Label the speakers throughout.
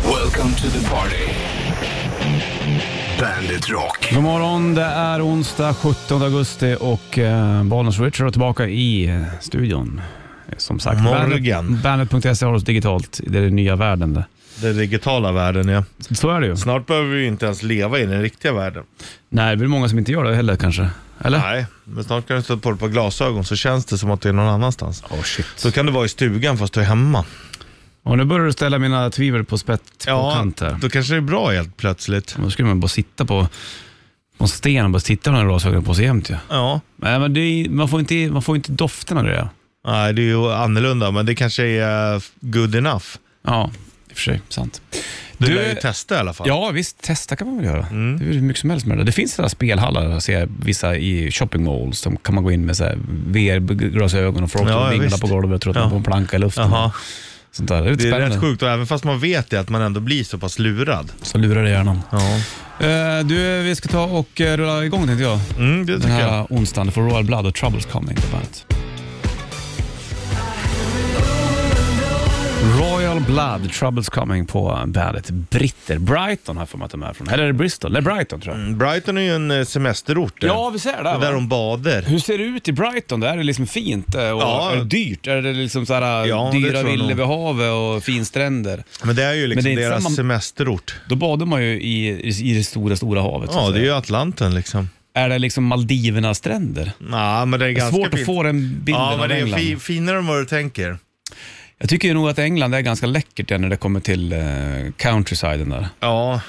Speaker 1: Welcome to the party. Bandit Rock.
Speaker 2: God morgon, det är onsdag 17 augusti och eh, Bollnäs Richard är tillbaka i eh, studion. Eh, Som sagt,
Speaker 3: Morgon.
Speaker 2: Bandet- Bandet.se E har oss digitalt. Det är den nya världen det.
Speaker 3: Den digitala världen ja.
Speaker 2: Så är det ju.
Speaker 3: Snart behöver vi ju inte ens leva i den riktiga världen.
Speaker 2: Nej, det är många som inte gör det heller kanske. Eller?
Speaker 3: Nej, men snart kan du sätta på dig på glasögon så känns det som att du är någon annanstans.
Speaker 2: Åh shit.
Speaker 3: Så kan du vara i stugan fast du är hemma.
Speaker 2: Och nu börjar du ställa mina tvivel på spett på kant här.
Speaker 3: då kanske det är bra helt plötsligt.
Speaker 2: Då skulle man bara sitta på, på en sten och bara titta med de här glasögonen på sig jämt ju.
Speaker 3: Ja,
Speaker 2: Nej, men det är, man, får inte, man får inte doften av det.
Speaker 3: nej det är ju annorlunda men det kanske är eh, good enough.
Speaker 2: Ja, i och för sig. Sant.
Speaker 3: Du,
Speaker 2: Du-
Speaker 3: lär ju testa i alla fall.
Speaker 2: Ja, visst. Testa kan man väl göra.
Speaker 3: Mm.
Speaker 2: Det är hur mycket som helst med det. Det finns sådana spelhallar, ser jag, vissa i shopping malls, som kan man gå in med så här VR-glasögon och folk
Speaker 3: Ja,
Speaker 2: som vinglar
Speaker 3: visst.
Speaker 2: på golvet och tröttnar
Speaker 3: Ja.
Speaker 2: på en planka i luften.
Speaker 3: Jaha,
Speaker 2: Sånt där. Det är, lite
Speaker 3: det är
Speaker 2: spännande.
Speaker 3: rätt sjukt och även fast man vet det att man ändå blir så pass lurad.
Speaker 2: Så lurar det hjärnan.
Speaker 3: Ja,
Speaker 2: Eh, du, vi ska ta och eh, rulla igång tänkte jag.
Speaker 3: mm, det
Speaker 2: Den
Speaker 3: tycker jag.
Speaker 2: här onsdagen. Du får Royal Blood och Troubles Coming på bandet. Royal Blood, Troubles Coming på bandet. Britter. Brighton har jag för mig att de är från. Eller är det Bristol? Nej, Brighton tror jag.
Speaker 3: Brighton är ju en eh, semesterort. det.
Speaker 2: Ja, vi ser det.
Speaker 3: Mm. det
Speaker 2: Där,
Speaker 3: är där
Speaker 2: va?
Speaker 3: de bader.
Speaker 2: Hur ser det ut i Brighton? Där är det liksom fint eh, och
Speaker 3: Ja.
Speaker 2: är det dyrt? Är det liksom så här, eh,
Speaker 3: Ja, det tror
Speaker 2: dyra
Speaker 3: jag
Speaker 2: villor
Speaker 3: nog.
Speaker 2: vid havet och finstränder?
Speaker 3: Men det är ju liksom
Speaker 2: Men det är inte
Speaker 3: deras
Speaker 2: samma-
Speaker 3: semesterort.
Speaker 2: Då badar man ju i, i i det stora, stora havet. så
Speaker 3: Ja,
Speaker 2: att
Speaker 3: det är
Speaker 2: säga.
Speaker 3: ju Atlanten liksom.
Speaker 2: är det liksom Maldivernas stränder?
Speaker 3: Ja, men det är
Speaker 2: Det är
Speaker 3: ganska
Speaker 2: svårt
Speaker 3: fint.
Speaker 2: att få den bilden
Speaker 3: Ja, men
Speaker 2: av
Speaker 3: det är
Speaker 2: England.
Speaker 3: fi- finare än vad du tänker.
Speaker 2: Jag tycker ju nog att England är ganska läckert ja, när det kommer till eh, countrysiden där.
Speaker 3: Ja.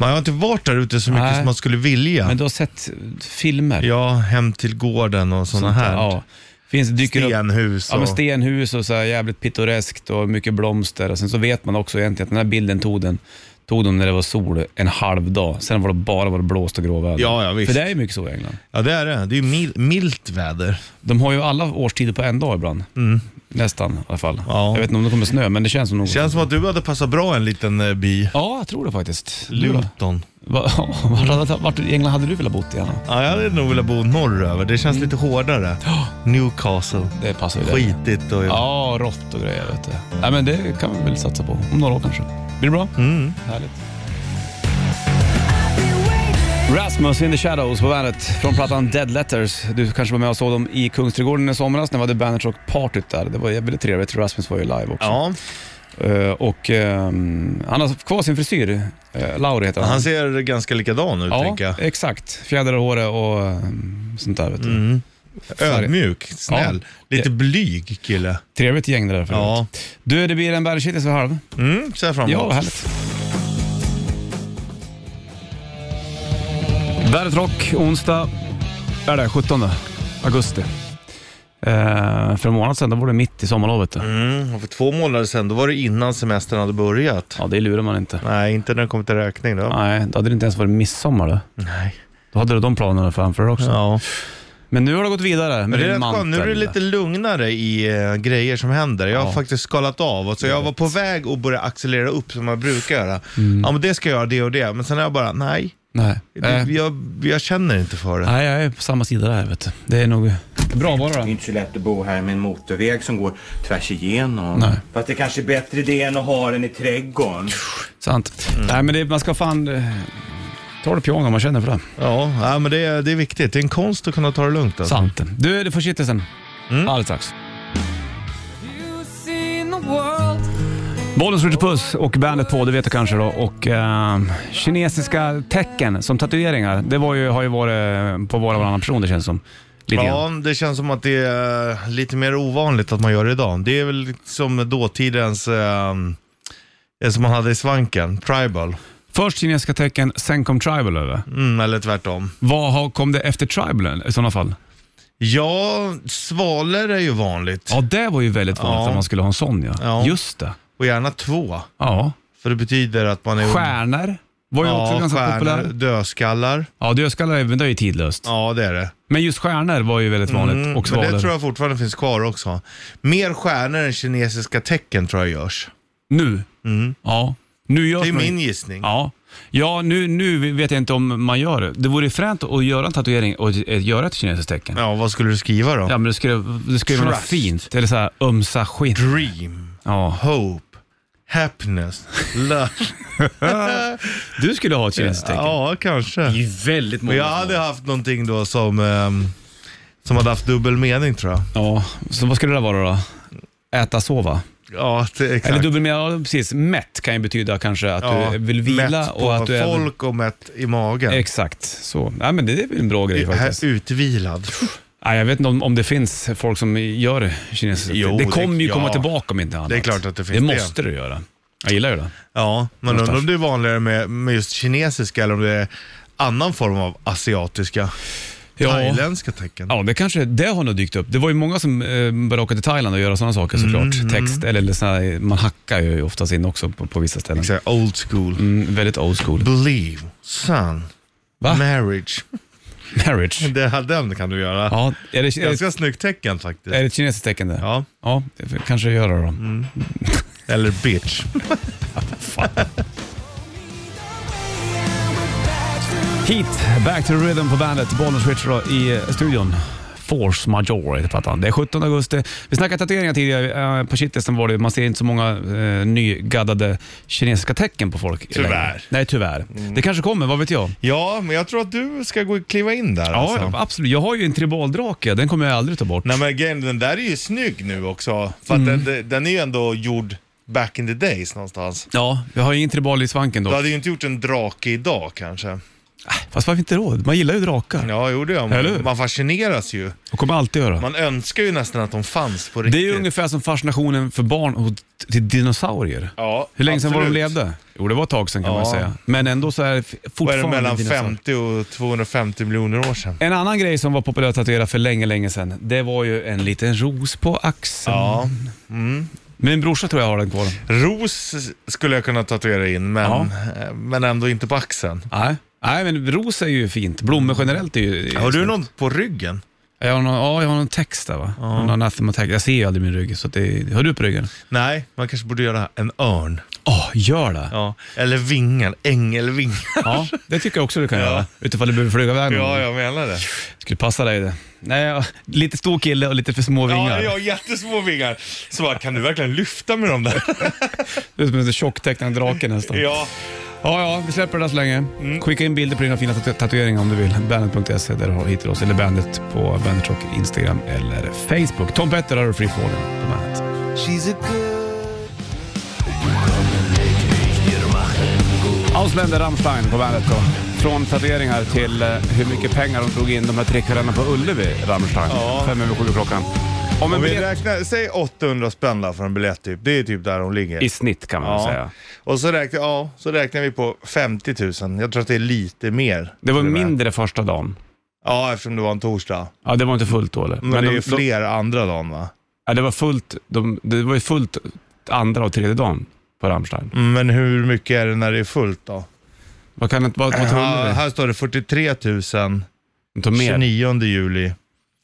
Speaker 3: Man har inte varit där ute så mycket
Speaker 2: Nej.
Speaker 3: som man skulle vilja.
Speaker 2: Men du har sett eh, filmer?
Speaker 3: Ja, hem till gården och sådana här.
Speaker 2: Ja. Finns, dyker upp
Speaker 3: Stenhus och...
Speaker 2: Ja, men stenhus och så här jävligt pittoreskt och mycket blomster. Och sen så vet man också egentligen att den här bilden tog den tog de när det var sol en halv dag. Sen var det bara var det blåst och gråväder.
Speaker 3: Ja, ja, visst.
Speaker 2: För det är ju mycket så i England.
Speaker 3: ja, det är det. Det är ju mil- milt väder.
Speaker 2: De har ju alla årstider på en dag ibland. Nästan i alla fall.
Speaker 3: Mm. Ja.
Speaker 2: Jag vet inte om det kommer snö, men det känns som något.
Speaker 3: Känns som att du hade passat bra i en liten eh, by.
Speaker 2: Ja, jag tror det faktiskt. Du då?
Speaker 3: Luton.
Speaker 2: Va- Vart vart i England hade du velat bo i? Anna?
Speaker 3: Ja, jag hade nog velat bo norröver. Det känns
Speaker 2: Mm.
Speaker 3: lite hårdare. Newcastle.
Speaker 2: Det passar ju dig.
Speaker 3: Skitigt och...
Speaker 2: Ja, rått och grejer vet du. Nej, men det kan vi väl satsa på. Om några år kanske. Blir det bra?
Speaker 3: Mm.
Speaker 2: Härligt. Rasmus in the Shadows på bandet från plattan Dead Letters. Du kanske var med och såg dem i Kungsträdgården i somras när vi hade Bandit Rock Partyt där. Det var jävligt trevligt. Rasmus var ju live också.
Speaker 3: Ja,
Speaker 2: Eh, och ehm, han har kvar sin frisyr. Uh, Lauri heter han.
Speaker 3: han ser ganska likadan ut,
Speaker 2: ja,
Speaker 3: tänker jag.
Speaker 2: exakt. Fjädrar i håret och ehm, sånt där. Vet du.
Speaker 3: Mm.
Speaker 2: Färg-
Speaker 3: Ödmjuk, snäll, lite blyg kille.
Speaker 2: Trevligt gäng det där för
Speaker 3: Ja.
Speaker 2: Du, det blir en bandit för halv.
Speaker 3: Mm, ser jag fram
Speaker 2: Ja,
Speaker 3: emot.
Speaker 2: vad härligt. Bandet Rock, onsdag är det 17 augusti. Eh, för en månad sedan, då var det mitt i sommarlovet. då.
Speaker 3: Mm, och för två månader sedan, då var det innan semestern hade börjat.
Speaker 2: Ja, det lurar man inte.
Speaker 3: Nej, inte när det kommer till räkning då.
Speaker 2: Nej, då hade det inte ens varit midsommar då.
Speaker 3: Nej.
Speaker 2: Då hade du de planerna framför dig också.
Speaker 3: Ja.
Speaker 2: Men nu har det gått vidare med
Speaker 3: Men det är
Speaker 2: din
Speaker 3: rätt
Speaker 2: mantel.
Speaker 3: skönt. Nu är det lite lugnare i eh, grejer som händer. Jag har
Speaker 2: Ja.
Speaker 3: faktiskt skalat av. Och så jag var på väg att börja accelerera upp som jag brukar göra.
Speaker 2: Mm.
Speaker 3: Ja, men det ska jag göra, det och det. Men sen är jag bara, nej.
Speaker 2: Nej.
Speaker 3: det-
Speaker 2: Eh,
Speaker 3: Jag, jag känner inte för det.
Speaker 2: Nej, jag är på samma sida där vet du. Det är nog bra bara
Speaker 4: Det är
Speaker 2: det.
Speaker 4: inte så lätt att bo här med en motorväg som går tvärs igenom.
Speaker 2: Nej.
Speaker 4: Fast det kanske är bättre det än att ha den i trädgården.
Speaker 2: Sant.
Speaker 3: Mm.
Speaker 2: Nej, men det, man ska fan eh, ta det piano om man känner för det.
Speaker 3: Ja, ja men det är, det är viktigt. Det är en konst att kunna ta det lugnt. Alltså.
Speaker 2: Sant. Du, du får kittelsen. Mm. Alldeles strax. Bollens Richard Puss och bandet på, det vet du kanske då. Och ehm, kinesiska tecken som tatueringar, det var ju, har ju varit eh, på var och varannan person det känns som. Lite grann.
Speaker 3: Ja, det känns som att det är eh, lite mer ovanligt att man gör det idag. Det är väl lite som dåtidens, eh, eh, som man hade i svanken, tribal.
Speaker 2: Först kinesiska tecken, sen kom tribal över.
Speaker 3: Mm, eller tvärtom.
Speaker 2: Vad har, kom det efter tribalen i sådana fall?
Speaker 3: Ja, svalor är ju vanligt.
Speaker 2: Ja, det var ju väldigt vanligt
Speaker 3: Ja.
Speaker 2: att man skulle ha en sån ja.
Speaker 3: Ja.
Speaker 2: Just det.
Speaker 3: Och gärna två.
Speaker 2: Ja.
Speaker 3: För det betyder att man är...
Speaker 2: Stjärnor var ju också ganska populärt.
Speaker 3: Dödskallar.
Speaker 2: Ja, dödskallar är- det är ju tidlöst.
Speaker 3: Ja, det är det.
Speaker 2: Men just stjärnor var ju väldigt vanligt
Speaker 3: Mm,
Speaker 2: och
Speaker 3: men
Speaker 2: svalor.
Speaker 3: det tror jag fortfarande finns kvar också. Mer stjärnor än kinesiska tecken tror jag görs.
Speaker 2: Nu? Ja. Nu görs
Speaker 3: Det är
Speaker 2: man-
Speaker 3: min gissning.
Speaker 2: Ja, ja nu, nu vet jag inte om man gör det. Det vore fränt att göra en tatuering och ett- göra ett kinesiskt tecken. Ja.
Speaker 3: Ja, vad skulle du skriva då?
Speaker 2: men det skulle, det skulle vara något
Speaker 3: Trust.
Speaker 2: fint. Eller såhär ömsa skinn.
Speaker 3: Dream,
Speaker 2: Ja.
Speaker 3: hope, Happiness. Love.
Speaker 2: Du skulle ha ett kinesiskt tecken.
Speaker 3: ja,
Speaker 1: Det är
Speaker 3: kanske.
Speaker 1: ju väldigt många.
Speaker 3: Men jag hade haft någonting då som, ehm, som hade haft dubbel mening tror jag.
Speaker 2: Ja, så vad skulle det där vara då? Äta, sova?
Speaker 3: Ja, det, exakt.
Speaker 2: Eller dubbel mening, ja, precis. Mätt kan ju betyda kanske att
Speaker 3: ja,
Speaker 2: du vill vila
Speaker 3: mätt på
Speaker 2: och att du även...
Speaker 3: folk och mätt i magen.
Speaker 2: Exakt, så. Nej, men det är väl en bra grej faktiskt.
Speaker 3: Här, utvilad.
Speaker 2: Nej, jag vet inte om, om det finns folk som gör kinesiskt.
Speaker 3: Jo,
Speaker 2: det kommer
Speaker 3: det-
Speaker 2: ju komma
Speaker 3: ja.
Speaker 2: tillbaka om inte annat.
Speaker 3: Det är klart att det finns
Speaker 2: Det
Speaker 3: det.
Speaker 2: måste du göra. Jag gillar ju det.
Speaker 3: Ja, men undrar
Speaker 2: Någonstans.
Speaker 3: om det är vanligare med, med just kinesiska eller om det är annan form av asiatiska,
Speaker 2: Ja.
Speaker 3: thailändska tecken.
Speaker 2: Ja, det kanske det har nog dykt upp. Det var ju många som eh, började åka till Thailand och göra sådana saker såklart.
Speaker 3: Mm,
Speaker 2: Text, eller, eller såna här, man hackar ju oftast in också på, på vissa ställen.
Speaker 3: Exakt, old school.
Speaker 2: Mm, väldigt old school.
Speaker 3: Believe, son,
Speaker 2: Va?
Speaker 3: marriage.
Speaker 2: Marriage.
Speaker 3: Det, den kan du göra.
Speaker 2: Ja, är det, är det,
Speaker 3: Ganska snyggt tecken faktiskt.
Speaker 2: är det ett kinesiskt tecken det?
Speaker 3: Ja,
Speaker 2: Ja, det kanske jag gör det då.
Speaker 3: eller bitch.
Speaker 2: Heat, Back to the Rhythm på bandet, Bollnäs Richard i eh, studion. Force Major heter plattan. Det är 17 augusti. Vi snackade tatueringar tidigare. Eh, På shitlisten var det, man ser inte så många eh, nygaddade kinesiska tecken på folk.
Speaker 3: Tyvärr. Mm.
Speaker 2: längre. Nej, tyvärr. Det kanske kommer, vad vet jag?
Speaker 3: Ja, men jag tror att du ska gå kliva in där. alltså.
Speaker 2: Ja, absolut. Jag har ju en tribaldrake, den kommer jag aldrig ta bort.
Speaker 3: Nej men grejen, den där är ju snygg nu också. För
Speaker 2: Mm.
Speaker 3: att den, den är ju ändå gjord back in the days någonstans.
Speaker 2: Ja, jag har ingen tribal i svanken
Speaker 3: Du
Speaker 2: dock.
Speaker 3: hade ju inte gjort en drake idag kanske.
Speaker 2: Fast varför inte då? Man gillar ju drakar
Speaker 3: Ja, jo det gör
Speaker 2: Eller hur?
Speaker 3: man. Man fascineras ju.
Speaker 2: och kommer alltid göra.
Speaker 3: Man önskar ju nästan att de fanns på
Speaker 2: Det är
Speaker 3: riktigt.
Speaker 2: ju ungefär som fascinationen för barn och t- till dinosaurier.
Speaker 3: Ja,
Speaker 2: Hur länge sedan var de
Speaker 3: absolut.
Speaker 2: levde? Jo, det var ett tag sedan kan
Speaker 3: Ja.
Speaker 2: man säga. Men ändå så är det f-
Speaker 3: Vad är det
Speaker 2: fortfarande
Speaker 3: mellan
Speaker 2: dinosaurier.
Speaker 3: 50 och 250 miljoner år sedan?
Speaker 2: En annan grej som var populär att tatuera för länge, länge sedan, det var ju en liten ros på axeln.
Speaker 3: Ja.
Speaker 2: Mm. Min brorsa tror jag har den kvar.
Speaker 3: Ros skulle jag kunna tatuera in, men,
Speaker 2: Ja.
Speaker 3: eh, men ändå inte på axeln.
Speaker 2: Nej. Nej, men ros är ju fint. Blommor generellt är ju...
Speaker 3: Har du någon på ryggen?
Speaker 2: Jag har någon, ja, jag har någon text där va? Någon anathema text. Jag ser ju aldrig min rygg, så att det, har du på ryggen?
Speaker 3: Nej, man kanske borde göra en örn.
Speaker 2: Ja, gör det. Ja.
Speaker 3: Ja. Eller vingar, ängelvingar.
Speaker 2: det tycker jag också du kan göra. Utifall du behöver flyga iväg någon
Speaker 3: Ja,
Speaker 2: gång.
Speaker 3: jag menar det.
Speaker 2: Skulle passa dig det. Nej, jag- lite stor kille och lite för små vingar.
Speaker 3: Ja, jag har jättesmå vingar. Så bara, kan du verkligen lyfta med dem där?
Speaker 2: Det är som en tjocktecknad drake nästan.
Speaker 3: ja. Mm.
Speaker 2: Ja, ja, vi släpper det där så länge. Skicka in bilder på dina fina tatu- tatueringar om du vill. Bandet.se där du har- hittar oss, eller bandet på Bandet Rock, Instagram eller Facebook. Tom Petter har du Free Fallen på bandet. Ausländer Rammstein på bandet då. Från tatueringar till eh, hur mycket pengar de drog in de här tre kvällarna på Ullevi, Rammstein.
Speaker 3: Ja.
Speaker 2: Fem över sju klockan. Om en
Speaker 3: Om vi
Speaker 2: biljett...
Speaker 3: räknar, säg 800 spänn där för en biljett typ. Det är typ där de ligger.
Speaker 2: I snitt kan man väl säga.
Speaker 3: Och så räknar, ja, så räknar vi på 50 000. Jag tror att det är lite mer.
Speaker 2: Det var
Speaker 3: till och med.
Speaker 2: mindre första dagen.
Speaker 3: Ja, eftersom det var en torsdag.
Speaker 2: Ja, det var inte fullt då eller?
Speaker 3: Men, det är
Speaker 2: de-
Speaker 3: ju
Speaker 2: de-
Speaker 3: fler andra dagen va?
Speaker 2: Ja, det var fullt, de, det var ju fullt andra och tredje dagen på Rammstein.
Speaker 3: Mm, Men hur mycket är det när det är fullt då?
Speaker 2: Vad kan det vad, vad tror
Speaker 3: Ja,
Speaker 2: du?
Speaker 3: här står det 43 000
Speaker 2: De tog mer.
Speaker 3: 29 juli.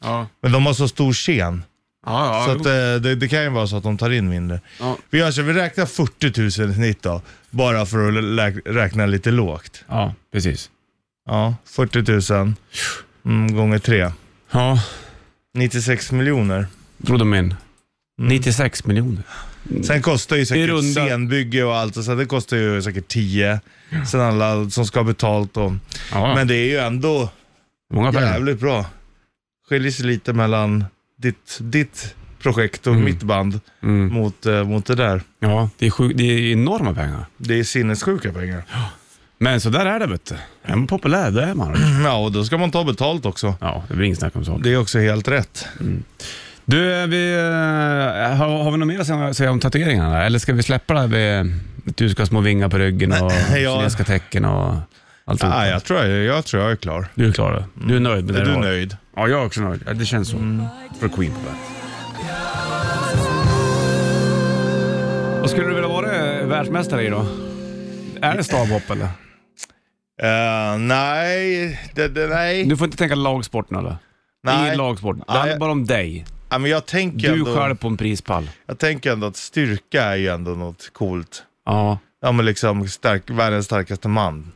Speaker 2: Ja.
Speaker 3: Men de har så stor scen.
Speaker 2: Ja,
Speaker 3: Så
Speaker 2: ja,
Speaker 3: att,
Speaker 2: jo.
Speaker 3: eh, det, det kan ju vara så att de tar in mindre.
Speaker 2: Ja.
Speaker 3: Vi, gör så, vi räknar 40 000 i snitt då, bara för att lä- räkna lite lågt.
Speaker 2: ja, precis.
Speaker 3: Ja, 40 000 mm, gånger 3.
Speaker 2: Ja,
Speaker 3: 96 miljoner.
Speaker 2: drog de
Speaker 3: Mm.
Speaker 2: in. 96 miljoner.
Speaker 3: Sen kostar ju
Speaker 2: I
Speaker 3: säkert
Speaker 2: runda-
Speaker 3: scenbygge och allt, och så det kostar ju säkert 10. Sen alla som ska ha betalt och...
Speaker 2: Ja,
Speaker 3: Men det är ju ändå
Speaker 2: många pengar.
Speaker 3: jävligt bra. Skiljer sig lite mellan ditt, ditt projekt och mitt band
Speaker 2: Mm.
Speaker 3: mot, eh, mot det där.
Speaker 2: Ja, det är, sjuk, det är enorma pengar.
Speaker 3: Det är sinnessjuka pengar.
Speaker 2: Men så där är det vet du. Är man populär, då är man.
Speaker 3: Ja, och då ska man ta betalt också.
Speaker 2: Ja, det blir inget snack om sånt.
Speaker 3: Det är också helt rätt.
Speaker 2: Du, eh, vi, eh, har, har vi något mer att säga- säga om tatueringarna? Eller ska vi släppa det här med att du ska ha små vingar på ryggen och
Speaker 3: ja.
Speaker 2: kinesiska tecken och allt
Speaker 3: Ah, jag, tror jag, jag tror jag är klar.
Speaker 2: Du är klar då. Du är nöjd med det
Speaker 3: Är du
Speaker 2: var.
Speaker 3: nöjd? Mm.
Speaker 2: Ja, jag är också nöjd. Ja, Det känns så. För Queen på det. Vad skulle du vilja vara eh, världsmästare i då? Är det stavhopp eller?
Speaker 3: Eh, nej, det, det, nej.
Speaker 2: Du får inte tänka lagsport nu eller?
Speaker 3: nej.
Speaker 2: I lagsport. Det
Speaker 3: Nej.
Speaker 2: handlar bara om dig.
Speaker 3: Ja, men jag, tänker
Speaker 2: Du själv
Speaker 3: ändå,
Speaker 2: på en prispall.
Speaker 3: jag tänker ändå att styrka är ju ändå något coolt.
Speaker 2: Ja.
Speaker 3: Ja, men liksom stark, världens starkaste man.